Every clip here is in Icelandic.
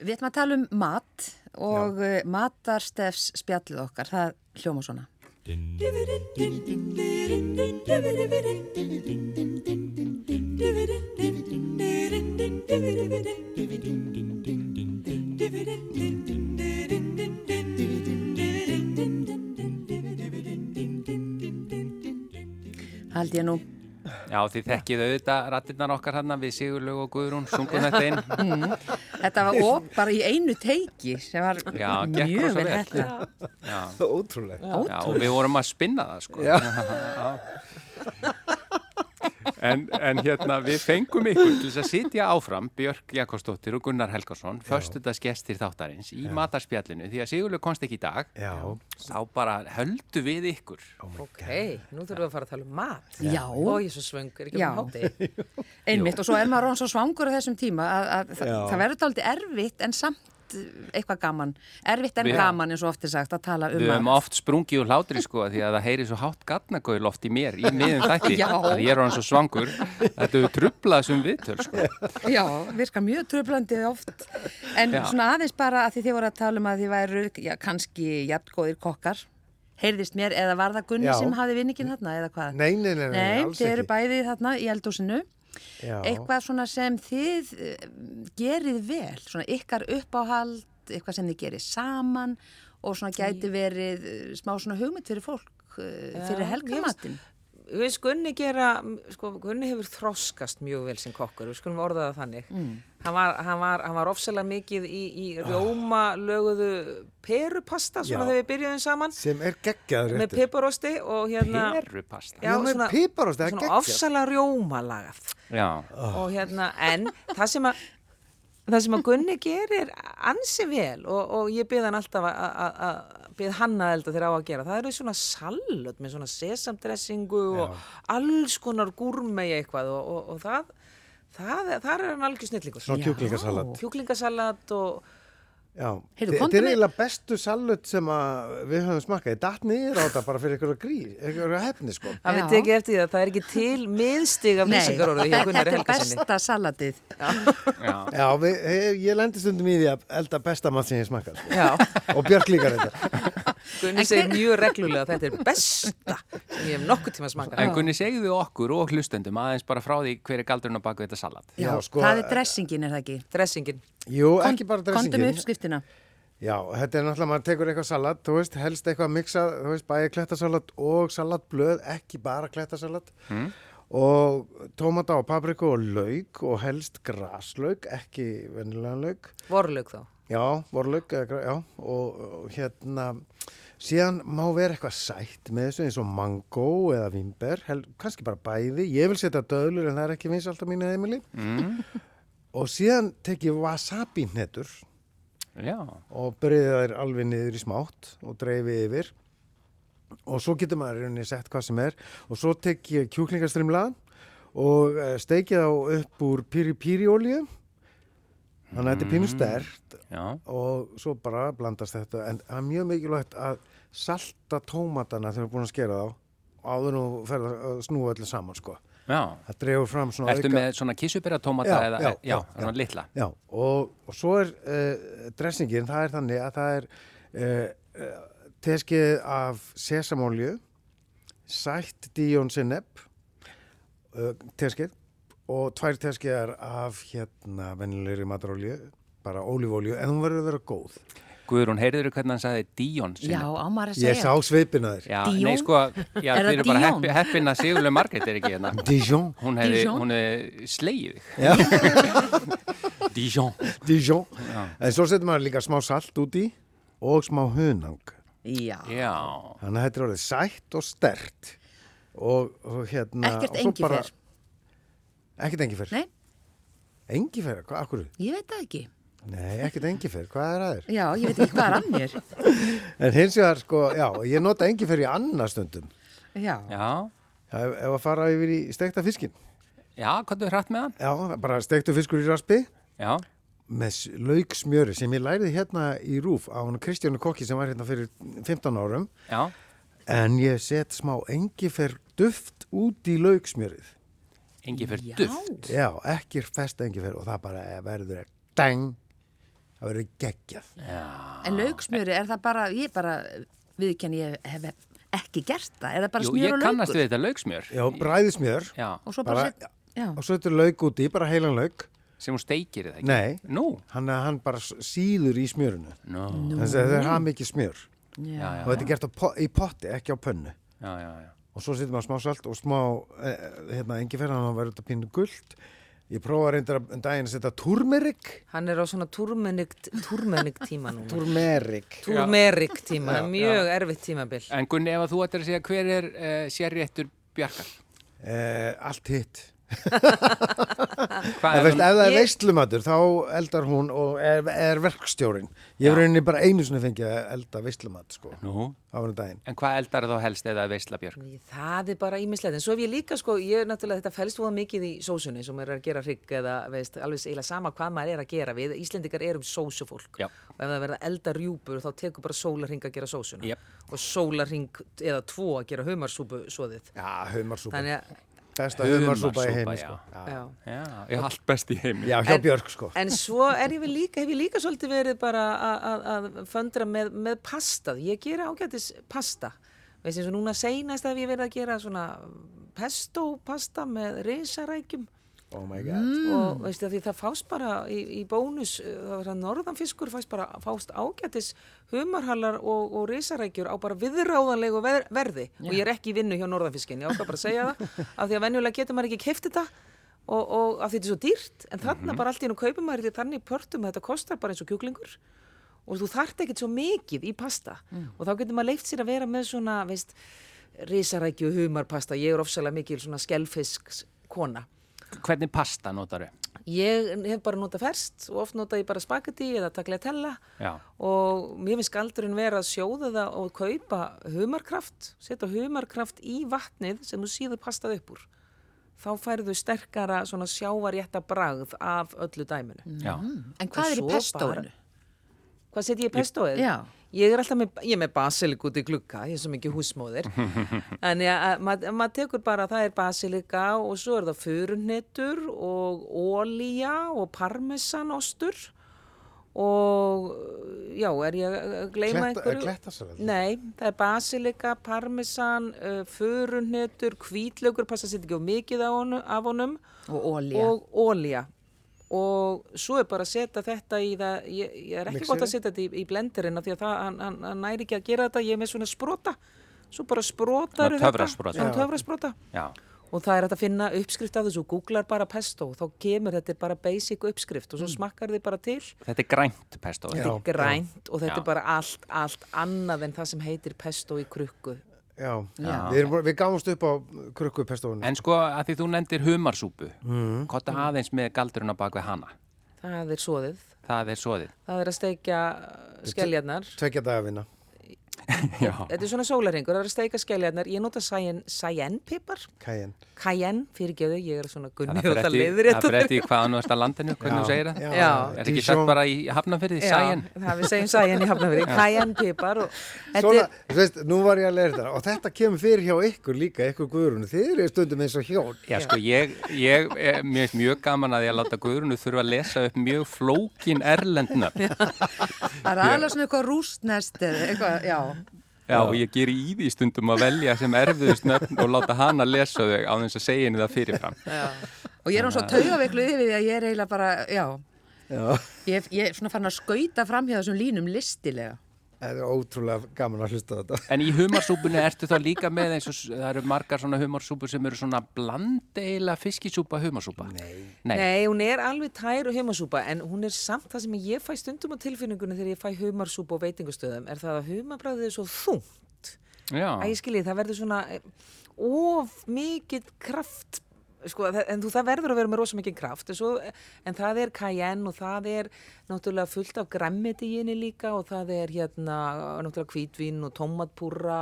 Við ætlum að tala um mat og Já. matarstefs spjallið okkar, það hljóma svona. Haldi ég nú. Já, því þekkið auðvitað rattinnar okkar hann við Sigurlaug og Guðrún, sungum þetta inn. Þetta var op bara í einu teiki sem var Já, gekk mjög rosa vel vel. þetta. Já, Ótrúlega. já, og við vorum að spinna það sko. Já. En, en hérna, við fengum ykkur til þess að sitja áfram, Björk Jakobsdóttir og Gunnar Helgarsson, förstudagsgestir þáttarins í matarspjallinu, því að Sigurlaug komst ekki í dag, Já. þá bara höldu við ykkur. Ok, nú þurfum við að fara að tala um mat. Já. Og ég er svo svöng, er ekki Já. um hátti. Einmitt og svo er maður án svo svangur á þessum tíma að, að þa- Já. það verður aldrei erfitt en samt eitthvað gaman. Erfitt en Við- gaman eins og ofti sagt að tala um Við höfum mat. oft sprungið úr hlátri sko því að það heyri svo hátt gatnagauð loft í mér í miðum þætti Já. að ég er hann svo svangur þetta hefur trublað sem viðtöl sko Já, virka mjög tröflandið oft. En Já. svona aðeins bara að því þið voru að tala um að þið væru já, kannski jafngóðir kokkar. Heyrðist mér eða var það Gunni Já. sem hafi vinningin þarna eða hvað? Nei, nei, nei, nei, alls þið eru ekki. bæði þarna í eldhúsinu. Já. Eitthvað svona sem þið eh, gerið vel, svona ykkar uppáhald, eitthvað sem þið gerið saman og svona gæti verið eh, smá svona hugmynd fyrir fólk, eh, fyrir Já, helgamatin. Við veist, Gunni gera, sko, Gunni hefur þroskast mjög vel sem kokkur, við skulum orða það þannig. Mm. Hann var, hann var, hann var ofsalega mikið í, í rjóma löguðu perupasta, svona Ah. Já. þegar við byrjuðum saman, Sem er geggjaður með réttur. pepparosti og hérna... Perupasta Já, með piparosti, það er svona geggjað. ofsalega rjómalagað. Já, Ah. og hérna, en það sem að það sem að Gunni gerir ansi vel og, og ég byrð hann alltaf að- að að- bið hann að elda þegar á að gera það eru svona sallut með svona sesamdressingu og alls konar gúrmei eitthvað og, og, og það það, það er hann algjör snillingur Svona kjúklingasalat. kjúklingasalat og Já. Heyrðu, Þi- komdu Þetta er með- eiginlega bestu salut sem að við höfum smakkað. Ég datt niður á þetta bara fyrir einhverja gríð, einhverja hefni sko. það Já. við tekið eftir því að það er ekki til miðstig af lýsingarorðu hjá þetta Gunnar er Helgasinni besta salatið. já, Já, við, ég, ég lendi stundum í því að elda besta mat sem ég smakkað. Sko. Já, Og Björk líka þetta. Gunni segir mjög reglulega að þetta er besta sem ég hef nokkuð tíma smakað en Gunni segðu okkur og hlustendum aðeins bara frá því hver er galdurinn á baku þetta salat Já, Já, sko, það er dressingin, er það ekki? dressingin Jú, ekki bara Kondum dressingin. uppskriftina. Já, þetta er náttúrulega, maður tekur eitthvað salat, þú veist, helst eitthvað miksað, þú veist, bæði klettasalat og salatblöð, ekki bara klettasalat. Mm. Og tómata og papriku og lauk og helst graslauk, ekki vennilegan lauk. vorlaug þá Já, vorlaug, eða gra- já, og, og hérna, síðan má vera eitthvað sætt með þessu eins og mango eða vimber, hel, kannski bara bæði, ég vil setja döðlur en það er ekki vins alltaf mínu heimili. Mm. Og síðan tek ég wasabi hnettur Já, og byrja þær alveg niður í smátt og dreifi yfir og svo getur maður í rauninni sett hvað sem er og svo tek ég kjúklingastrimla og eh, steiki þá upp úr piri-piri olíu þannig að þetta er Mm. pínu stert já, og svo bara blandast þetta en það er mjög mikilvægt að salta tómatana þegar þú er búin að skera þá áður nú ferð að snúa öllu saman sko. já það dreifur fram svona Ertu með svona kissubera tómata Já, eða, já, já, já, svona litla Já, og, og svo er uh, dressingin, það er þannig að það er uh, uh, teskið af sesamolju, sætt díjón sinneb, uh, teskið, og tvær teskiðar af hérna vennilegri matarolju, bara ólífolju, en hún verður að vera góð. Guðrún, heyrður hvernig hann sagði Díón Já, ámar að segja. Ég sá sveipin að þér. já Dion? nei sko, já, Er þið það eru bara Dion? heppi- heppin að Sigurlaug Margrét er ekki hérna Dijon. Hún hefði, Dijon? hún hefði slegið þig. Já. Dijon. Dijon. En svo setur maður líka smá salt út í og smá hunang. Já, Já. Þannig að þetta er orðið sætt og stert og, og hérna Ekkert og svo engifer? Ekkert engifer? nei, Engifer, hvað, akkur? ég veit það ekki. Nei, ekkert engifer, hvað er aðeir? Já, ég veit ekki hvað er að mér. En hins vegar, sko, já, ég nota engifer í annar stundum Já, Já. Já, ef, ef að fara yfir í steikta fiskin Já, hvað þú hrætt með hann? Já, bara steiktu fiskur í raspi Já. með s- lauksmjöri sem ég læriði hérna í rúf á hann Kristjánu Kokki sem var hérna fyrir 15 árum Já. en ég set smá engifer duft út í lauksmjörið Engi fyrir duft. Já, ekki fest engifer og það bara verður deng það verður geggjað En lauksmjöri, er það bara, ég bara, viðkenni, ég hef ekki gert það. Er það bara Jú, smjör ég og kannast laukur? við þetta lauksmjör. já, bræðismjör Já, Og svo bara, Bara- set, já, og svo þetta er lauk úti, bara heilan lauk sem hún steikir eða ekki. nei, Nú, hann, hann bara s- síður í smjörinu nú, þannig að þetta er hafa mikið smjör já, já, já, já, og þetta er gert á po í potti, ekki á pönnu já, já, já. og svo setur maður smá salt og smá eh, hérna, engi fyrir hann verður þetta pínu guld ég prófa reyndar um daginn að setja turmerik Hann er á svona turmenikt, turmenikt tíma núna. turmerik Turmerik tíma, það er mjög erfitt tímabil. En Gunni, ef að þú ættir að segja hver er uh, sérréttur Bjarkar? eh, allt hitt Hvað En er það? veist, ef það er Ég- veistlumatur þá eldar hún og er, er verkstjórin ég hef rauninni bara einu sinni fengið að elda veistlumat sko, Nú, á hann daginn en hvað eldar þá helst eða veistla Björk? Það er bara ímislegt, en svo hef ég líka sko, ég er náttúrulega, þetta fælst fóða mikið í sósunni sem er að gera hrygg eða veist, alveg eiginlega sama hvað maður er að gera við, Íslendingar erum sósufólk Já. og ef það verða elda rjúpur þá tekur bara sólarhing að gera sósuna Jep. og sólarhing eða tvo að gera humarsúpu svoðið. já, humarsúpa, Þannig að, besta humarsúpa í Humarsúpa, heimi já. sko. já. já. Já, ég allt best í heimi. já, hjá Björk sko En svo er ég vel líka, hef ég líka svolítið verið bara að- að- að föndra með, með pastað. Ég gera ágætis pasta. Veist eins og núna seinast hef ég verið að gera svona pesto pasta með risarækjum oh my god, og veist það því það fást bara í, í bónus, uh, það var að norðanfiskur fást bara fást ágætis humarhallar og, og risarækjur á bara viðráðanlegu ver, verði og ég er ekki í vinnu hjá norðanfiskinni, ég ákvað bara að segja það af því að venjulega getur maður ekki keift þetta og, og af því þetta er svo dýrt en þarna bara allt í hennu kaupum maður þetta þannig í pörtum að þetta kostar bara eins og kjúklingur og þú þart ekkert svo mikið í pasta og þá getur maður leift sér að vera með svona, veist, risarækju humarpasta, ég er ofsalega mikil svona skelfisks kona Hvernig pasta notar þau? Ég hef bara notað ferskt og oft notað ég bara spagetti eða tagliatella Já. og mér finnst galdurinn vera að sjóða það og kaupa humarkraft, setja humarkraft í vatnið sem þú síður pastað upp úr. Þá færðu sterkara svona sjávarjætta bragð af öllu dæminu. Já, En hvað er í svo pestóinu? Hvað setjum ég í pestoið? Já. Ég er alltaf með, ég er með basilik út í glugga, ég er svo mikið húsmóðir. Þannig að að maður mað tekur bara, það er basilika og svo er það furunettur og ólíja og parmesanostur og já, er ég að gleyma Kletta- einhverju? er klettasalat? Nei, það er basilika, parmesan, uh, furunettur, hvítlaugur, passa að setja ekki á mikið af honum, af honum Og ólja? og ólja og svo er bara að setja þetta í það, ég, ég er ekki gott að setja þetta í, í blenderinn af því að það, hann, hann, hann næri ekki að gera þetta, ég er með svona sprota svo bara sprotar Svona töfrasprota. þetta, töfrasprota já. og það er hægt að finna uppskrift af þessu, googlar bara pesto þá kemur þetta er bara basic uppskrift og svo smakkar þið bara til Þetta er grænt pesto. sko. Já. Mm. Já. grænt og þetta Já. er bara allt, allt annað en það sem heitir pesto í krukku já, Við, erum, bara- við gáumst upp á krukku pestóinu En sko, að því þú nefndir humarsúpu, mm. kotta aðeins með galdurinn á bak við hana. það er svoðið, Það er svoðið. það er að steikja skelljarnar tvekja dagafina Já. Þetta er svona sólaringur, það er að steika skeljarnar. Ég nota cayenne, cayenne pipar, kæin cayenne, fyrirgeðu, ég er svona gunni og Það fyrir það eftir- leiðir það fyrir eftir í hvaðan þú ert að landinu, hvernig þú segir það. já, Já. Er þetta ekki sagt bara í hafnafyrði, sæjan? það við segjum cayenne í hafnafyrir, cayenne pipar og þetta Svona, er, þú veist, nú var ég að leira þetta og þetta kemur fyrir hjá ykkur líka, ykkur guðrunu þið eru stundum eins og hjón Já, sko, ég, ég, eh, mér finnst mjög gaman að ég láta Guðrunu þurfa að lesa upp mjög flókin erlendna. Það er aðlega svona eitthvað rústnest eða eitthvað, já. Já, og ég ger í því stundum að velja sem erfiðust nöfn og láta hana lesa þau á þess að segja henni það fyrirfram. Og ég er hann svo taugaveikluð yfir því að ég er eiginlega bara, já. Ég, ég er svona farin að skauta fram hjá þessum línum listilega. Það er ótrúlega gaman að hlusta á þetta En í humarsúpunni ertu þá líka með eins og s- það eru margar svona humarsúpur sem eru svona blandeila fiskisúpa humarsúpa? Nei. Nei, nei, hún er alveg tær og humarsúpa, en hún er samt það sem ég fæ stundum á tilfinningunni þegar ég fæ humarsúpa á veitingustöðum, er það að humabræðið er svo þungt. já, Æ, ég skilji, það verður svona eh, of mikið kraft sko, þa- en þú, það verður að vera með rosa mikið kraft en, svo, en það er cayenne og það er náttúrulega fullt af græmmiti í henni líka og það er hérna náttúrulega hvítvin og tomatpúra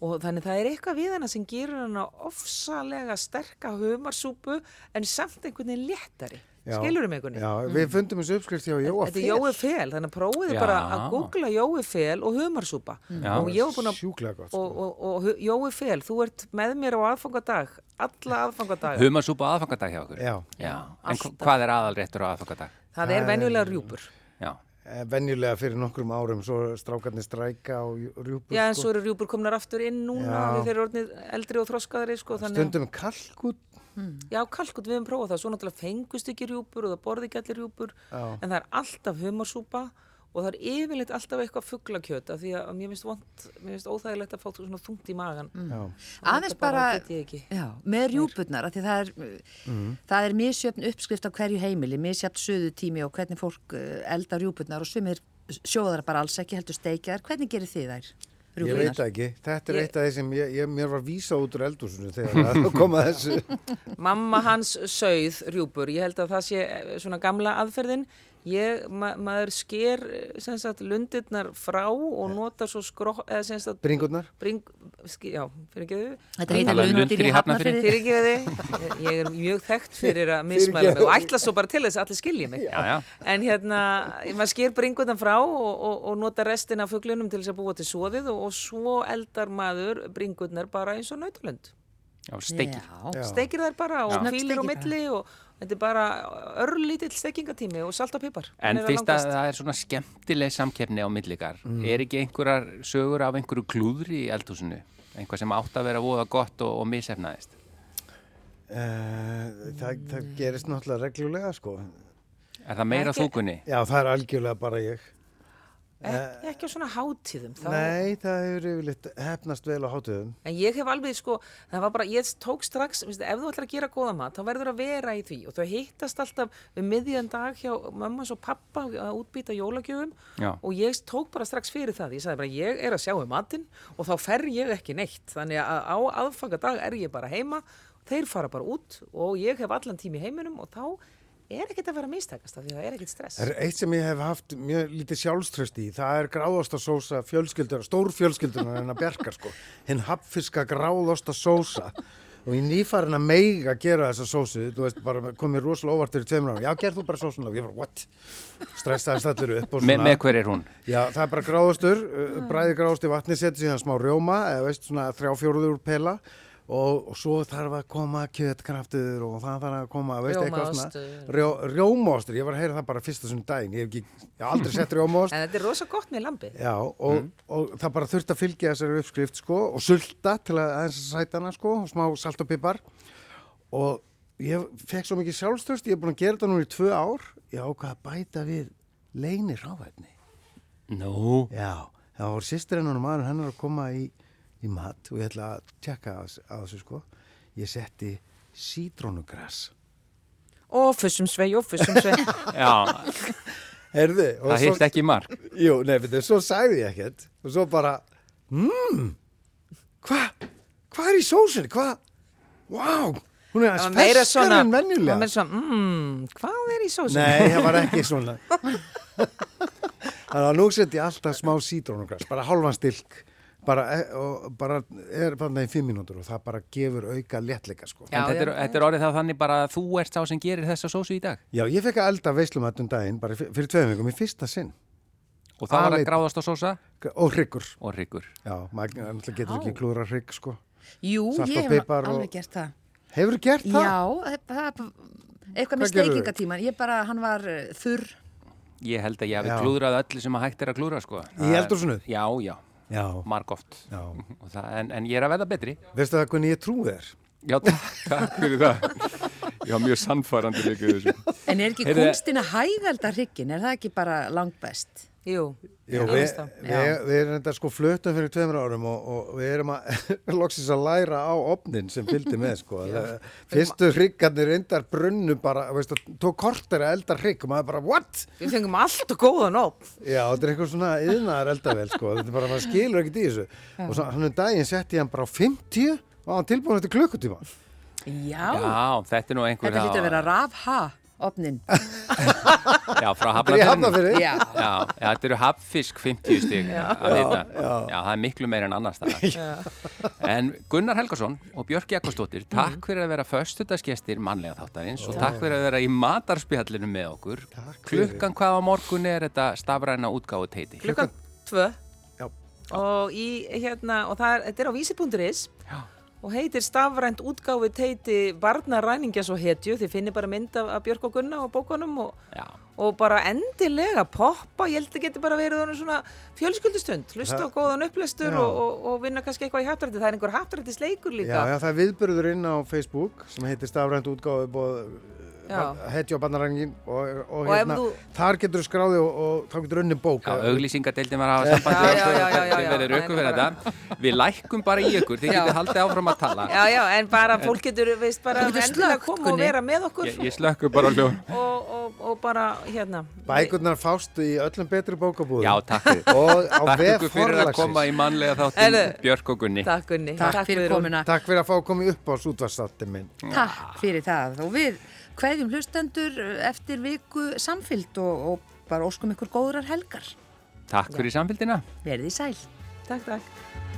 og þannig það er eitthvað við hana sem gerur hana ofsalega sterka humarsúpu en samt einhvern veginn léttari Já. skilur um einhvern veginn Já, við fundum þessu uppskrift hjá Jóa Þetta er Jói Fel, þannig að prófiði Já. bara að googla Jói Fel og humarsúpa Já. og ég var búin að Sjúklega gott sko. og, og, og Hu- Jói Fel, þú ert með mér á aðfangadag, alla aðfangadag. humarsúpa á aðfangadag hjá okkur? Já. Já, en hva- hvað er aðalréttur á aðfangadag? Það er venjulega rjúpur. Já, eh, venjulega fyrir nokkrum árum svo strákarnir stræka og rjúpur Já, en sko. svo eru rjúpur komnar aftur inn núna Já. og þeir eru orðnið eldri og þroskaðari sko, þannig, stundum kalkut að- já, kalkut við höfum prófað það, svo náttúrulega fengust ekki rjúpur og það borði ekki allir rjúpur, Já. en það er alltaf humarsúpa og það er yfirleitt alltaf eitthvað fugglakjöt af því að mér finnst vond, mér finnst óþægilegt að fá svona þungt í magan. já, aðeins Þetta bara, get ég ekki. já, með rjúpurnar af því það er, Mhm. það er misjöfn uppskrift á hverju heimili, misjöfn söðu tími og hvernig fólk eh, eldar rjúpurnar og sumir sjóðar bara alls ekki heldur steikjar hvernig gerir þið þær? ég rjúpurnar? veit það ekki þetta er eitt af því sem ég, ég, mér var vísa út úr eldhúsinu þegar það kom að þessu Mamma hans sauð rjúpur, ég held að það sé eh, svona gamla aðferðin. Ég, ma maður sker eh, sem sagt lundirnar frá og notar svo skrók, eða sem sagt bringurnar bring, ski, já, fyrir ekki Þetta þau? Tala heitir um lundir í lundir í Hafnarfirði. hafnafyrir Fyrir ekki þau? Ég er mjög þekkt fyrir að mismæla mig og ætla svo bara til þess að allir skilja mig. Já, já. En hérna, maður sker bringutan frá og, og, og notar restina af fuglunum til þess að búa til soðið og, og svo eldar maður bringutnar bara eins og nautalönd. Já, steikir. Já, steikir þær bara og Snögg kvílir á steikir milli og þetta er bara örlítill steikingatími og salt og pipar. En Hann er að fyrst að langast. það er svona skemmtileg samkeppni á millikar, Mm. er ekki einhverjar sögur af einhverju klúðri í eldhúsinu? Einhvað sem átt að vera voða gott og, og misefnaðist? Uh, það, það gerist náttúrulega reglulega sko. Er það meira Ekki- þúkunni? Já, það er algjörlega bara ég. Ek, ekki á svona hátíðum. Þá, Nei, það hefur yfirleitt hefnast vel á hátuðum. En ég hef alveg sko, það var bara, ég tók strax, minnst, ef þú ætlar að gera góða mat, þá verður að vera í því. Og þau hittast alltaf um miðjan dag hjá mammas og pappa að útbýta jólagjöfum Já. og ég tók bara strax fyrir það. Ég sagði bara, ég er að sjá um matinn og þá fer ég ekki neitt. Þannig að á aðfangadag er ég bara heima, þeir fara bara út og ég hef allan tími í heiminum og þá er ekkert að vera að mistakast af því að það er ekkert stress. Það er eitt sem ég hef haft mjög lítið sjálfströst í. Það er gráðasta sósa fjölskyldur, stór fjölskyldunar en að bjarga sko. Hinn hapfiska gráðasta sósa. Og ég nýfarin að meiga að gera þessa sósu, þú veist, bara komið rosalega óvart fyrir tveimur ára. Já, gerð þú bara sósuna og ég bara, what? Stressaðist allir upp og Me, svona. með hver er hún? Já, það er bara gráðastur, uh, bræði gráðast í vatni, setja síðan smá rjóma, eða veist svona þrjá fjóruður úr pela og, og svo þarf að koma kjötkraftur og það þarf að koma, veist, eitthvað svona. Rjómaostur. Rjó, rjómaostur. Ég var að heyra það bara fyrsta sem daginn, ég hef ekki, ég hef aldrei sett rjómaost. En þetta er rosa gott með lambið. Já, og, og það bara þurfti að fylgja þessari uppskrift sko og sulta til að aðeins að sæta hana sko, og smá salt og pipar og ég fekk svo mikið sjálfstörst, ég er búin að gera þetta núna í tvö ár, ég ákvað að bæta við leini ráfæfni. Nú, Já, það voru sýstir hennar og maður hennar að koma í, í mat og ég ætla að tjekka að, að þessu sko. Ég setti sítrónugras. Ó, fussum svei, ó, fussum svei. já, Herði, það hitt ekki í mark. Jú, nei, betur, svo sagði ég ekkert og svo bara, mmm, hvað, hvað er í sósunni, hvað, vá, hún Það er aðeins var meira ferskar svona, en það var venjulega. meira svona, mmm, hvað er í sósum? Nei, það var ekki svona. Þannig að nú sett ég alltaf smá sítrónugras, bara hálfan stilk, bara, e- og bara er bara í fimm mínútur og það bara gefur auka léttleika sko. Já, En þetta er, já. þetta er orðið þá þannig bara að þú ert sá sem gerir þessa sósu í dag. Já, ég fekk að elda veislum um daginn, bara fyr- fyrir tveim vikum, í fyrsta sinn. Og það var að Aleit. gráðast á sósa K- Og hryggur. og hryggur. Já, maður náttúrulega getur ekki klúra hrygg sko. Jú, Salt og ég hef pipar og- alveg gert það Hefur gert það? Já, það, það, eitthvað með Hvað gerðu? steikingatíman ég bara, hann var eh, þurr Ég held að ég hafi Já. klúðrað öllu sem að hægt er að klúðra, sko. Það er- eldhúsinu? Já, já, Já. margóft. Já. En, en ég er að veða betri. Veistu það hvernig ég trúi þér? Já, takk, takk fyrir það. Ég var mjög sannfærandi líka í þessu. en er ekki Heyrðu- kunstin að hægalda hryggin er það ekki bara langbest? Jú, ég Jú, við, veist það. við, við erum þetta sko flötum fyrir tveimur árum og, og við erum að loksins að læra á opnin sem fylgdi með sko. Það- Fyrstu hryggarnir reyndar brunnu bara, veist, það tók kortir að elda hrygg og maður bara, what? Við fengum allt og góðan op. Já, þetta er eitthvað svona yðnaðar eldavel sko, þetta er bara, maður skilur ekkert í þessu. Og svo hann um daginn setti ég hann bara á 50 og hann tilbúin eftir klukkutíma. Já, Já, þetta er nú einhver... þetta þá- hlýtt að vera rafha opnin Já, frá Það er ég hafnafjörnum. hafna fyrir. Já, Já, já, þetta eru haffisk 50 stig að vita. Já, það er miklu meira en annars það. En Gunnar Helgason og Björk Jakobsdóttir, Mhm. takk fyrir að vera föstudagsgestir mannlega þáttarins og takk fyrir að vera í matarspjallinu með okkur. fyrir. Klukkan hvað á morgun er þetta stafræna útgáðu teiti? Klukkan tvö Já. og, í, hérna, og það er, þetta er á vísi.is og heitir stafrænt útgáfið teiti Barna ræningjas og hetju þið finnir bara mynd af, af Björk og Gunna og bókunum og, Já. og bara endilega poppa, ég held að geti bara verið honum svona fjölskyldustund, hlusta á góðan upplestur Já. og, og, og vinna kannski eitthvað í hattrætti það er einhver hattrættisleikur Já, líka já, það er viðburður inn á Facebook sem heitir stafrænt útgáfi bóð Já. hetju á bannarængin og, og, Og ef hérna, þú- þar getur þú skráði og, og þá getur unni bók Já, auglýsingadeildin var að hafa sambandi Já, já, já, já, já, Þið já. verður auku fyrir þetta Við lækkum bara í ykkur, þið Já. getið haldið áfram að tala Já, já, en bara fólk getur, veist, bara Þú getur endilega slökkt, koma og Gunni. vera með okkur Ég, ég slökku bara ljó og, og, og bara, hérna Bækurnar fástu í öllum betri bókabúðum Já, takk fyrir Og á Takk vef ykkur fyrir að forlagsins. koma í mannlega þáttin Heyrðu. Björk og Gunni Takk Gunni Takk, fyrir Guðrún. komuna. Takk fyrir að fá að koma í upp á sútvarstáttin minn Takk fyrir það og við hverjum hlustendur eftir viku samfylgd og, og bara óskum ykkur góðrar helgar. Takk fyrir samfélgina Verðið sæl. Takk, takk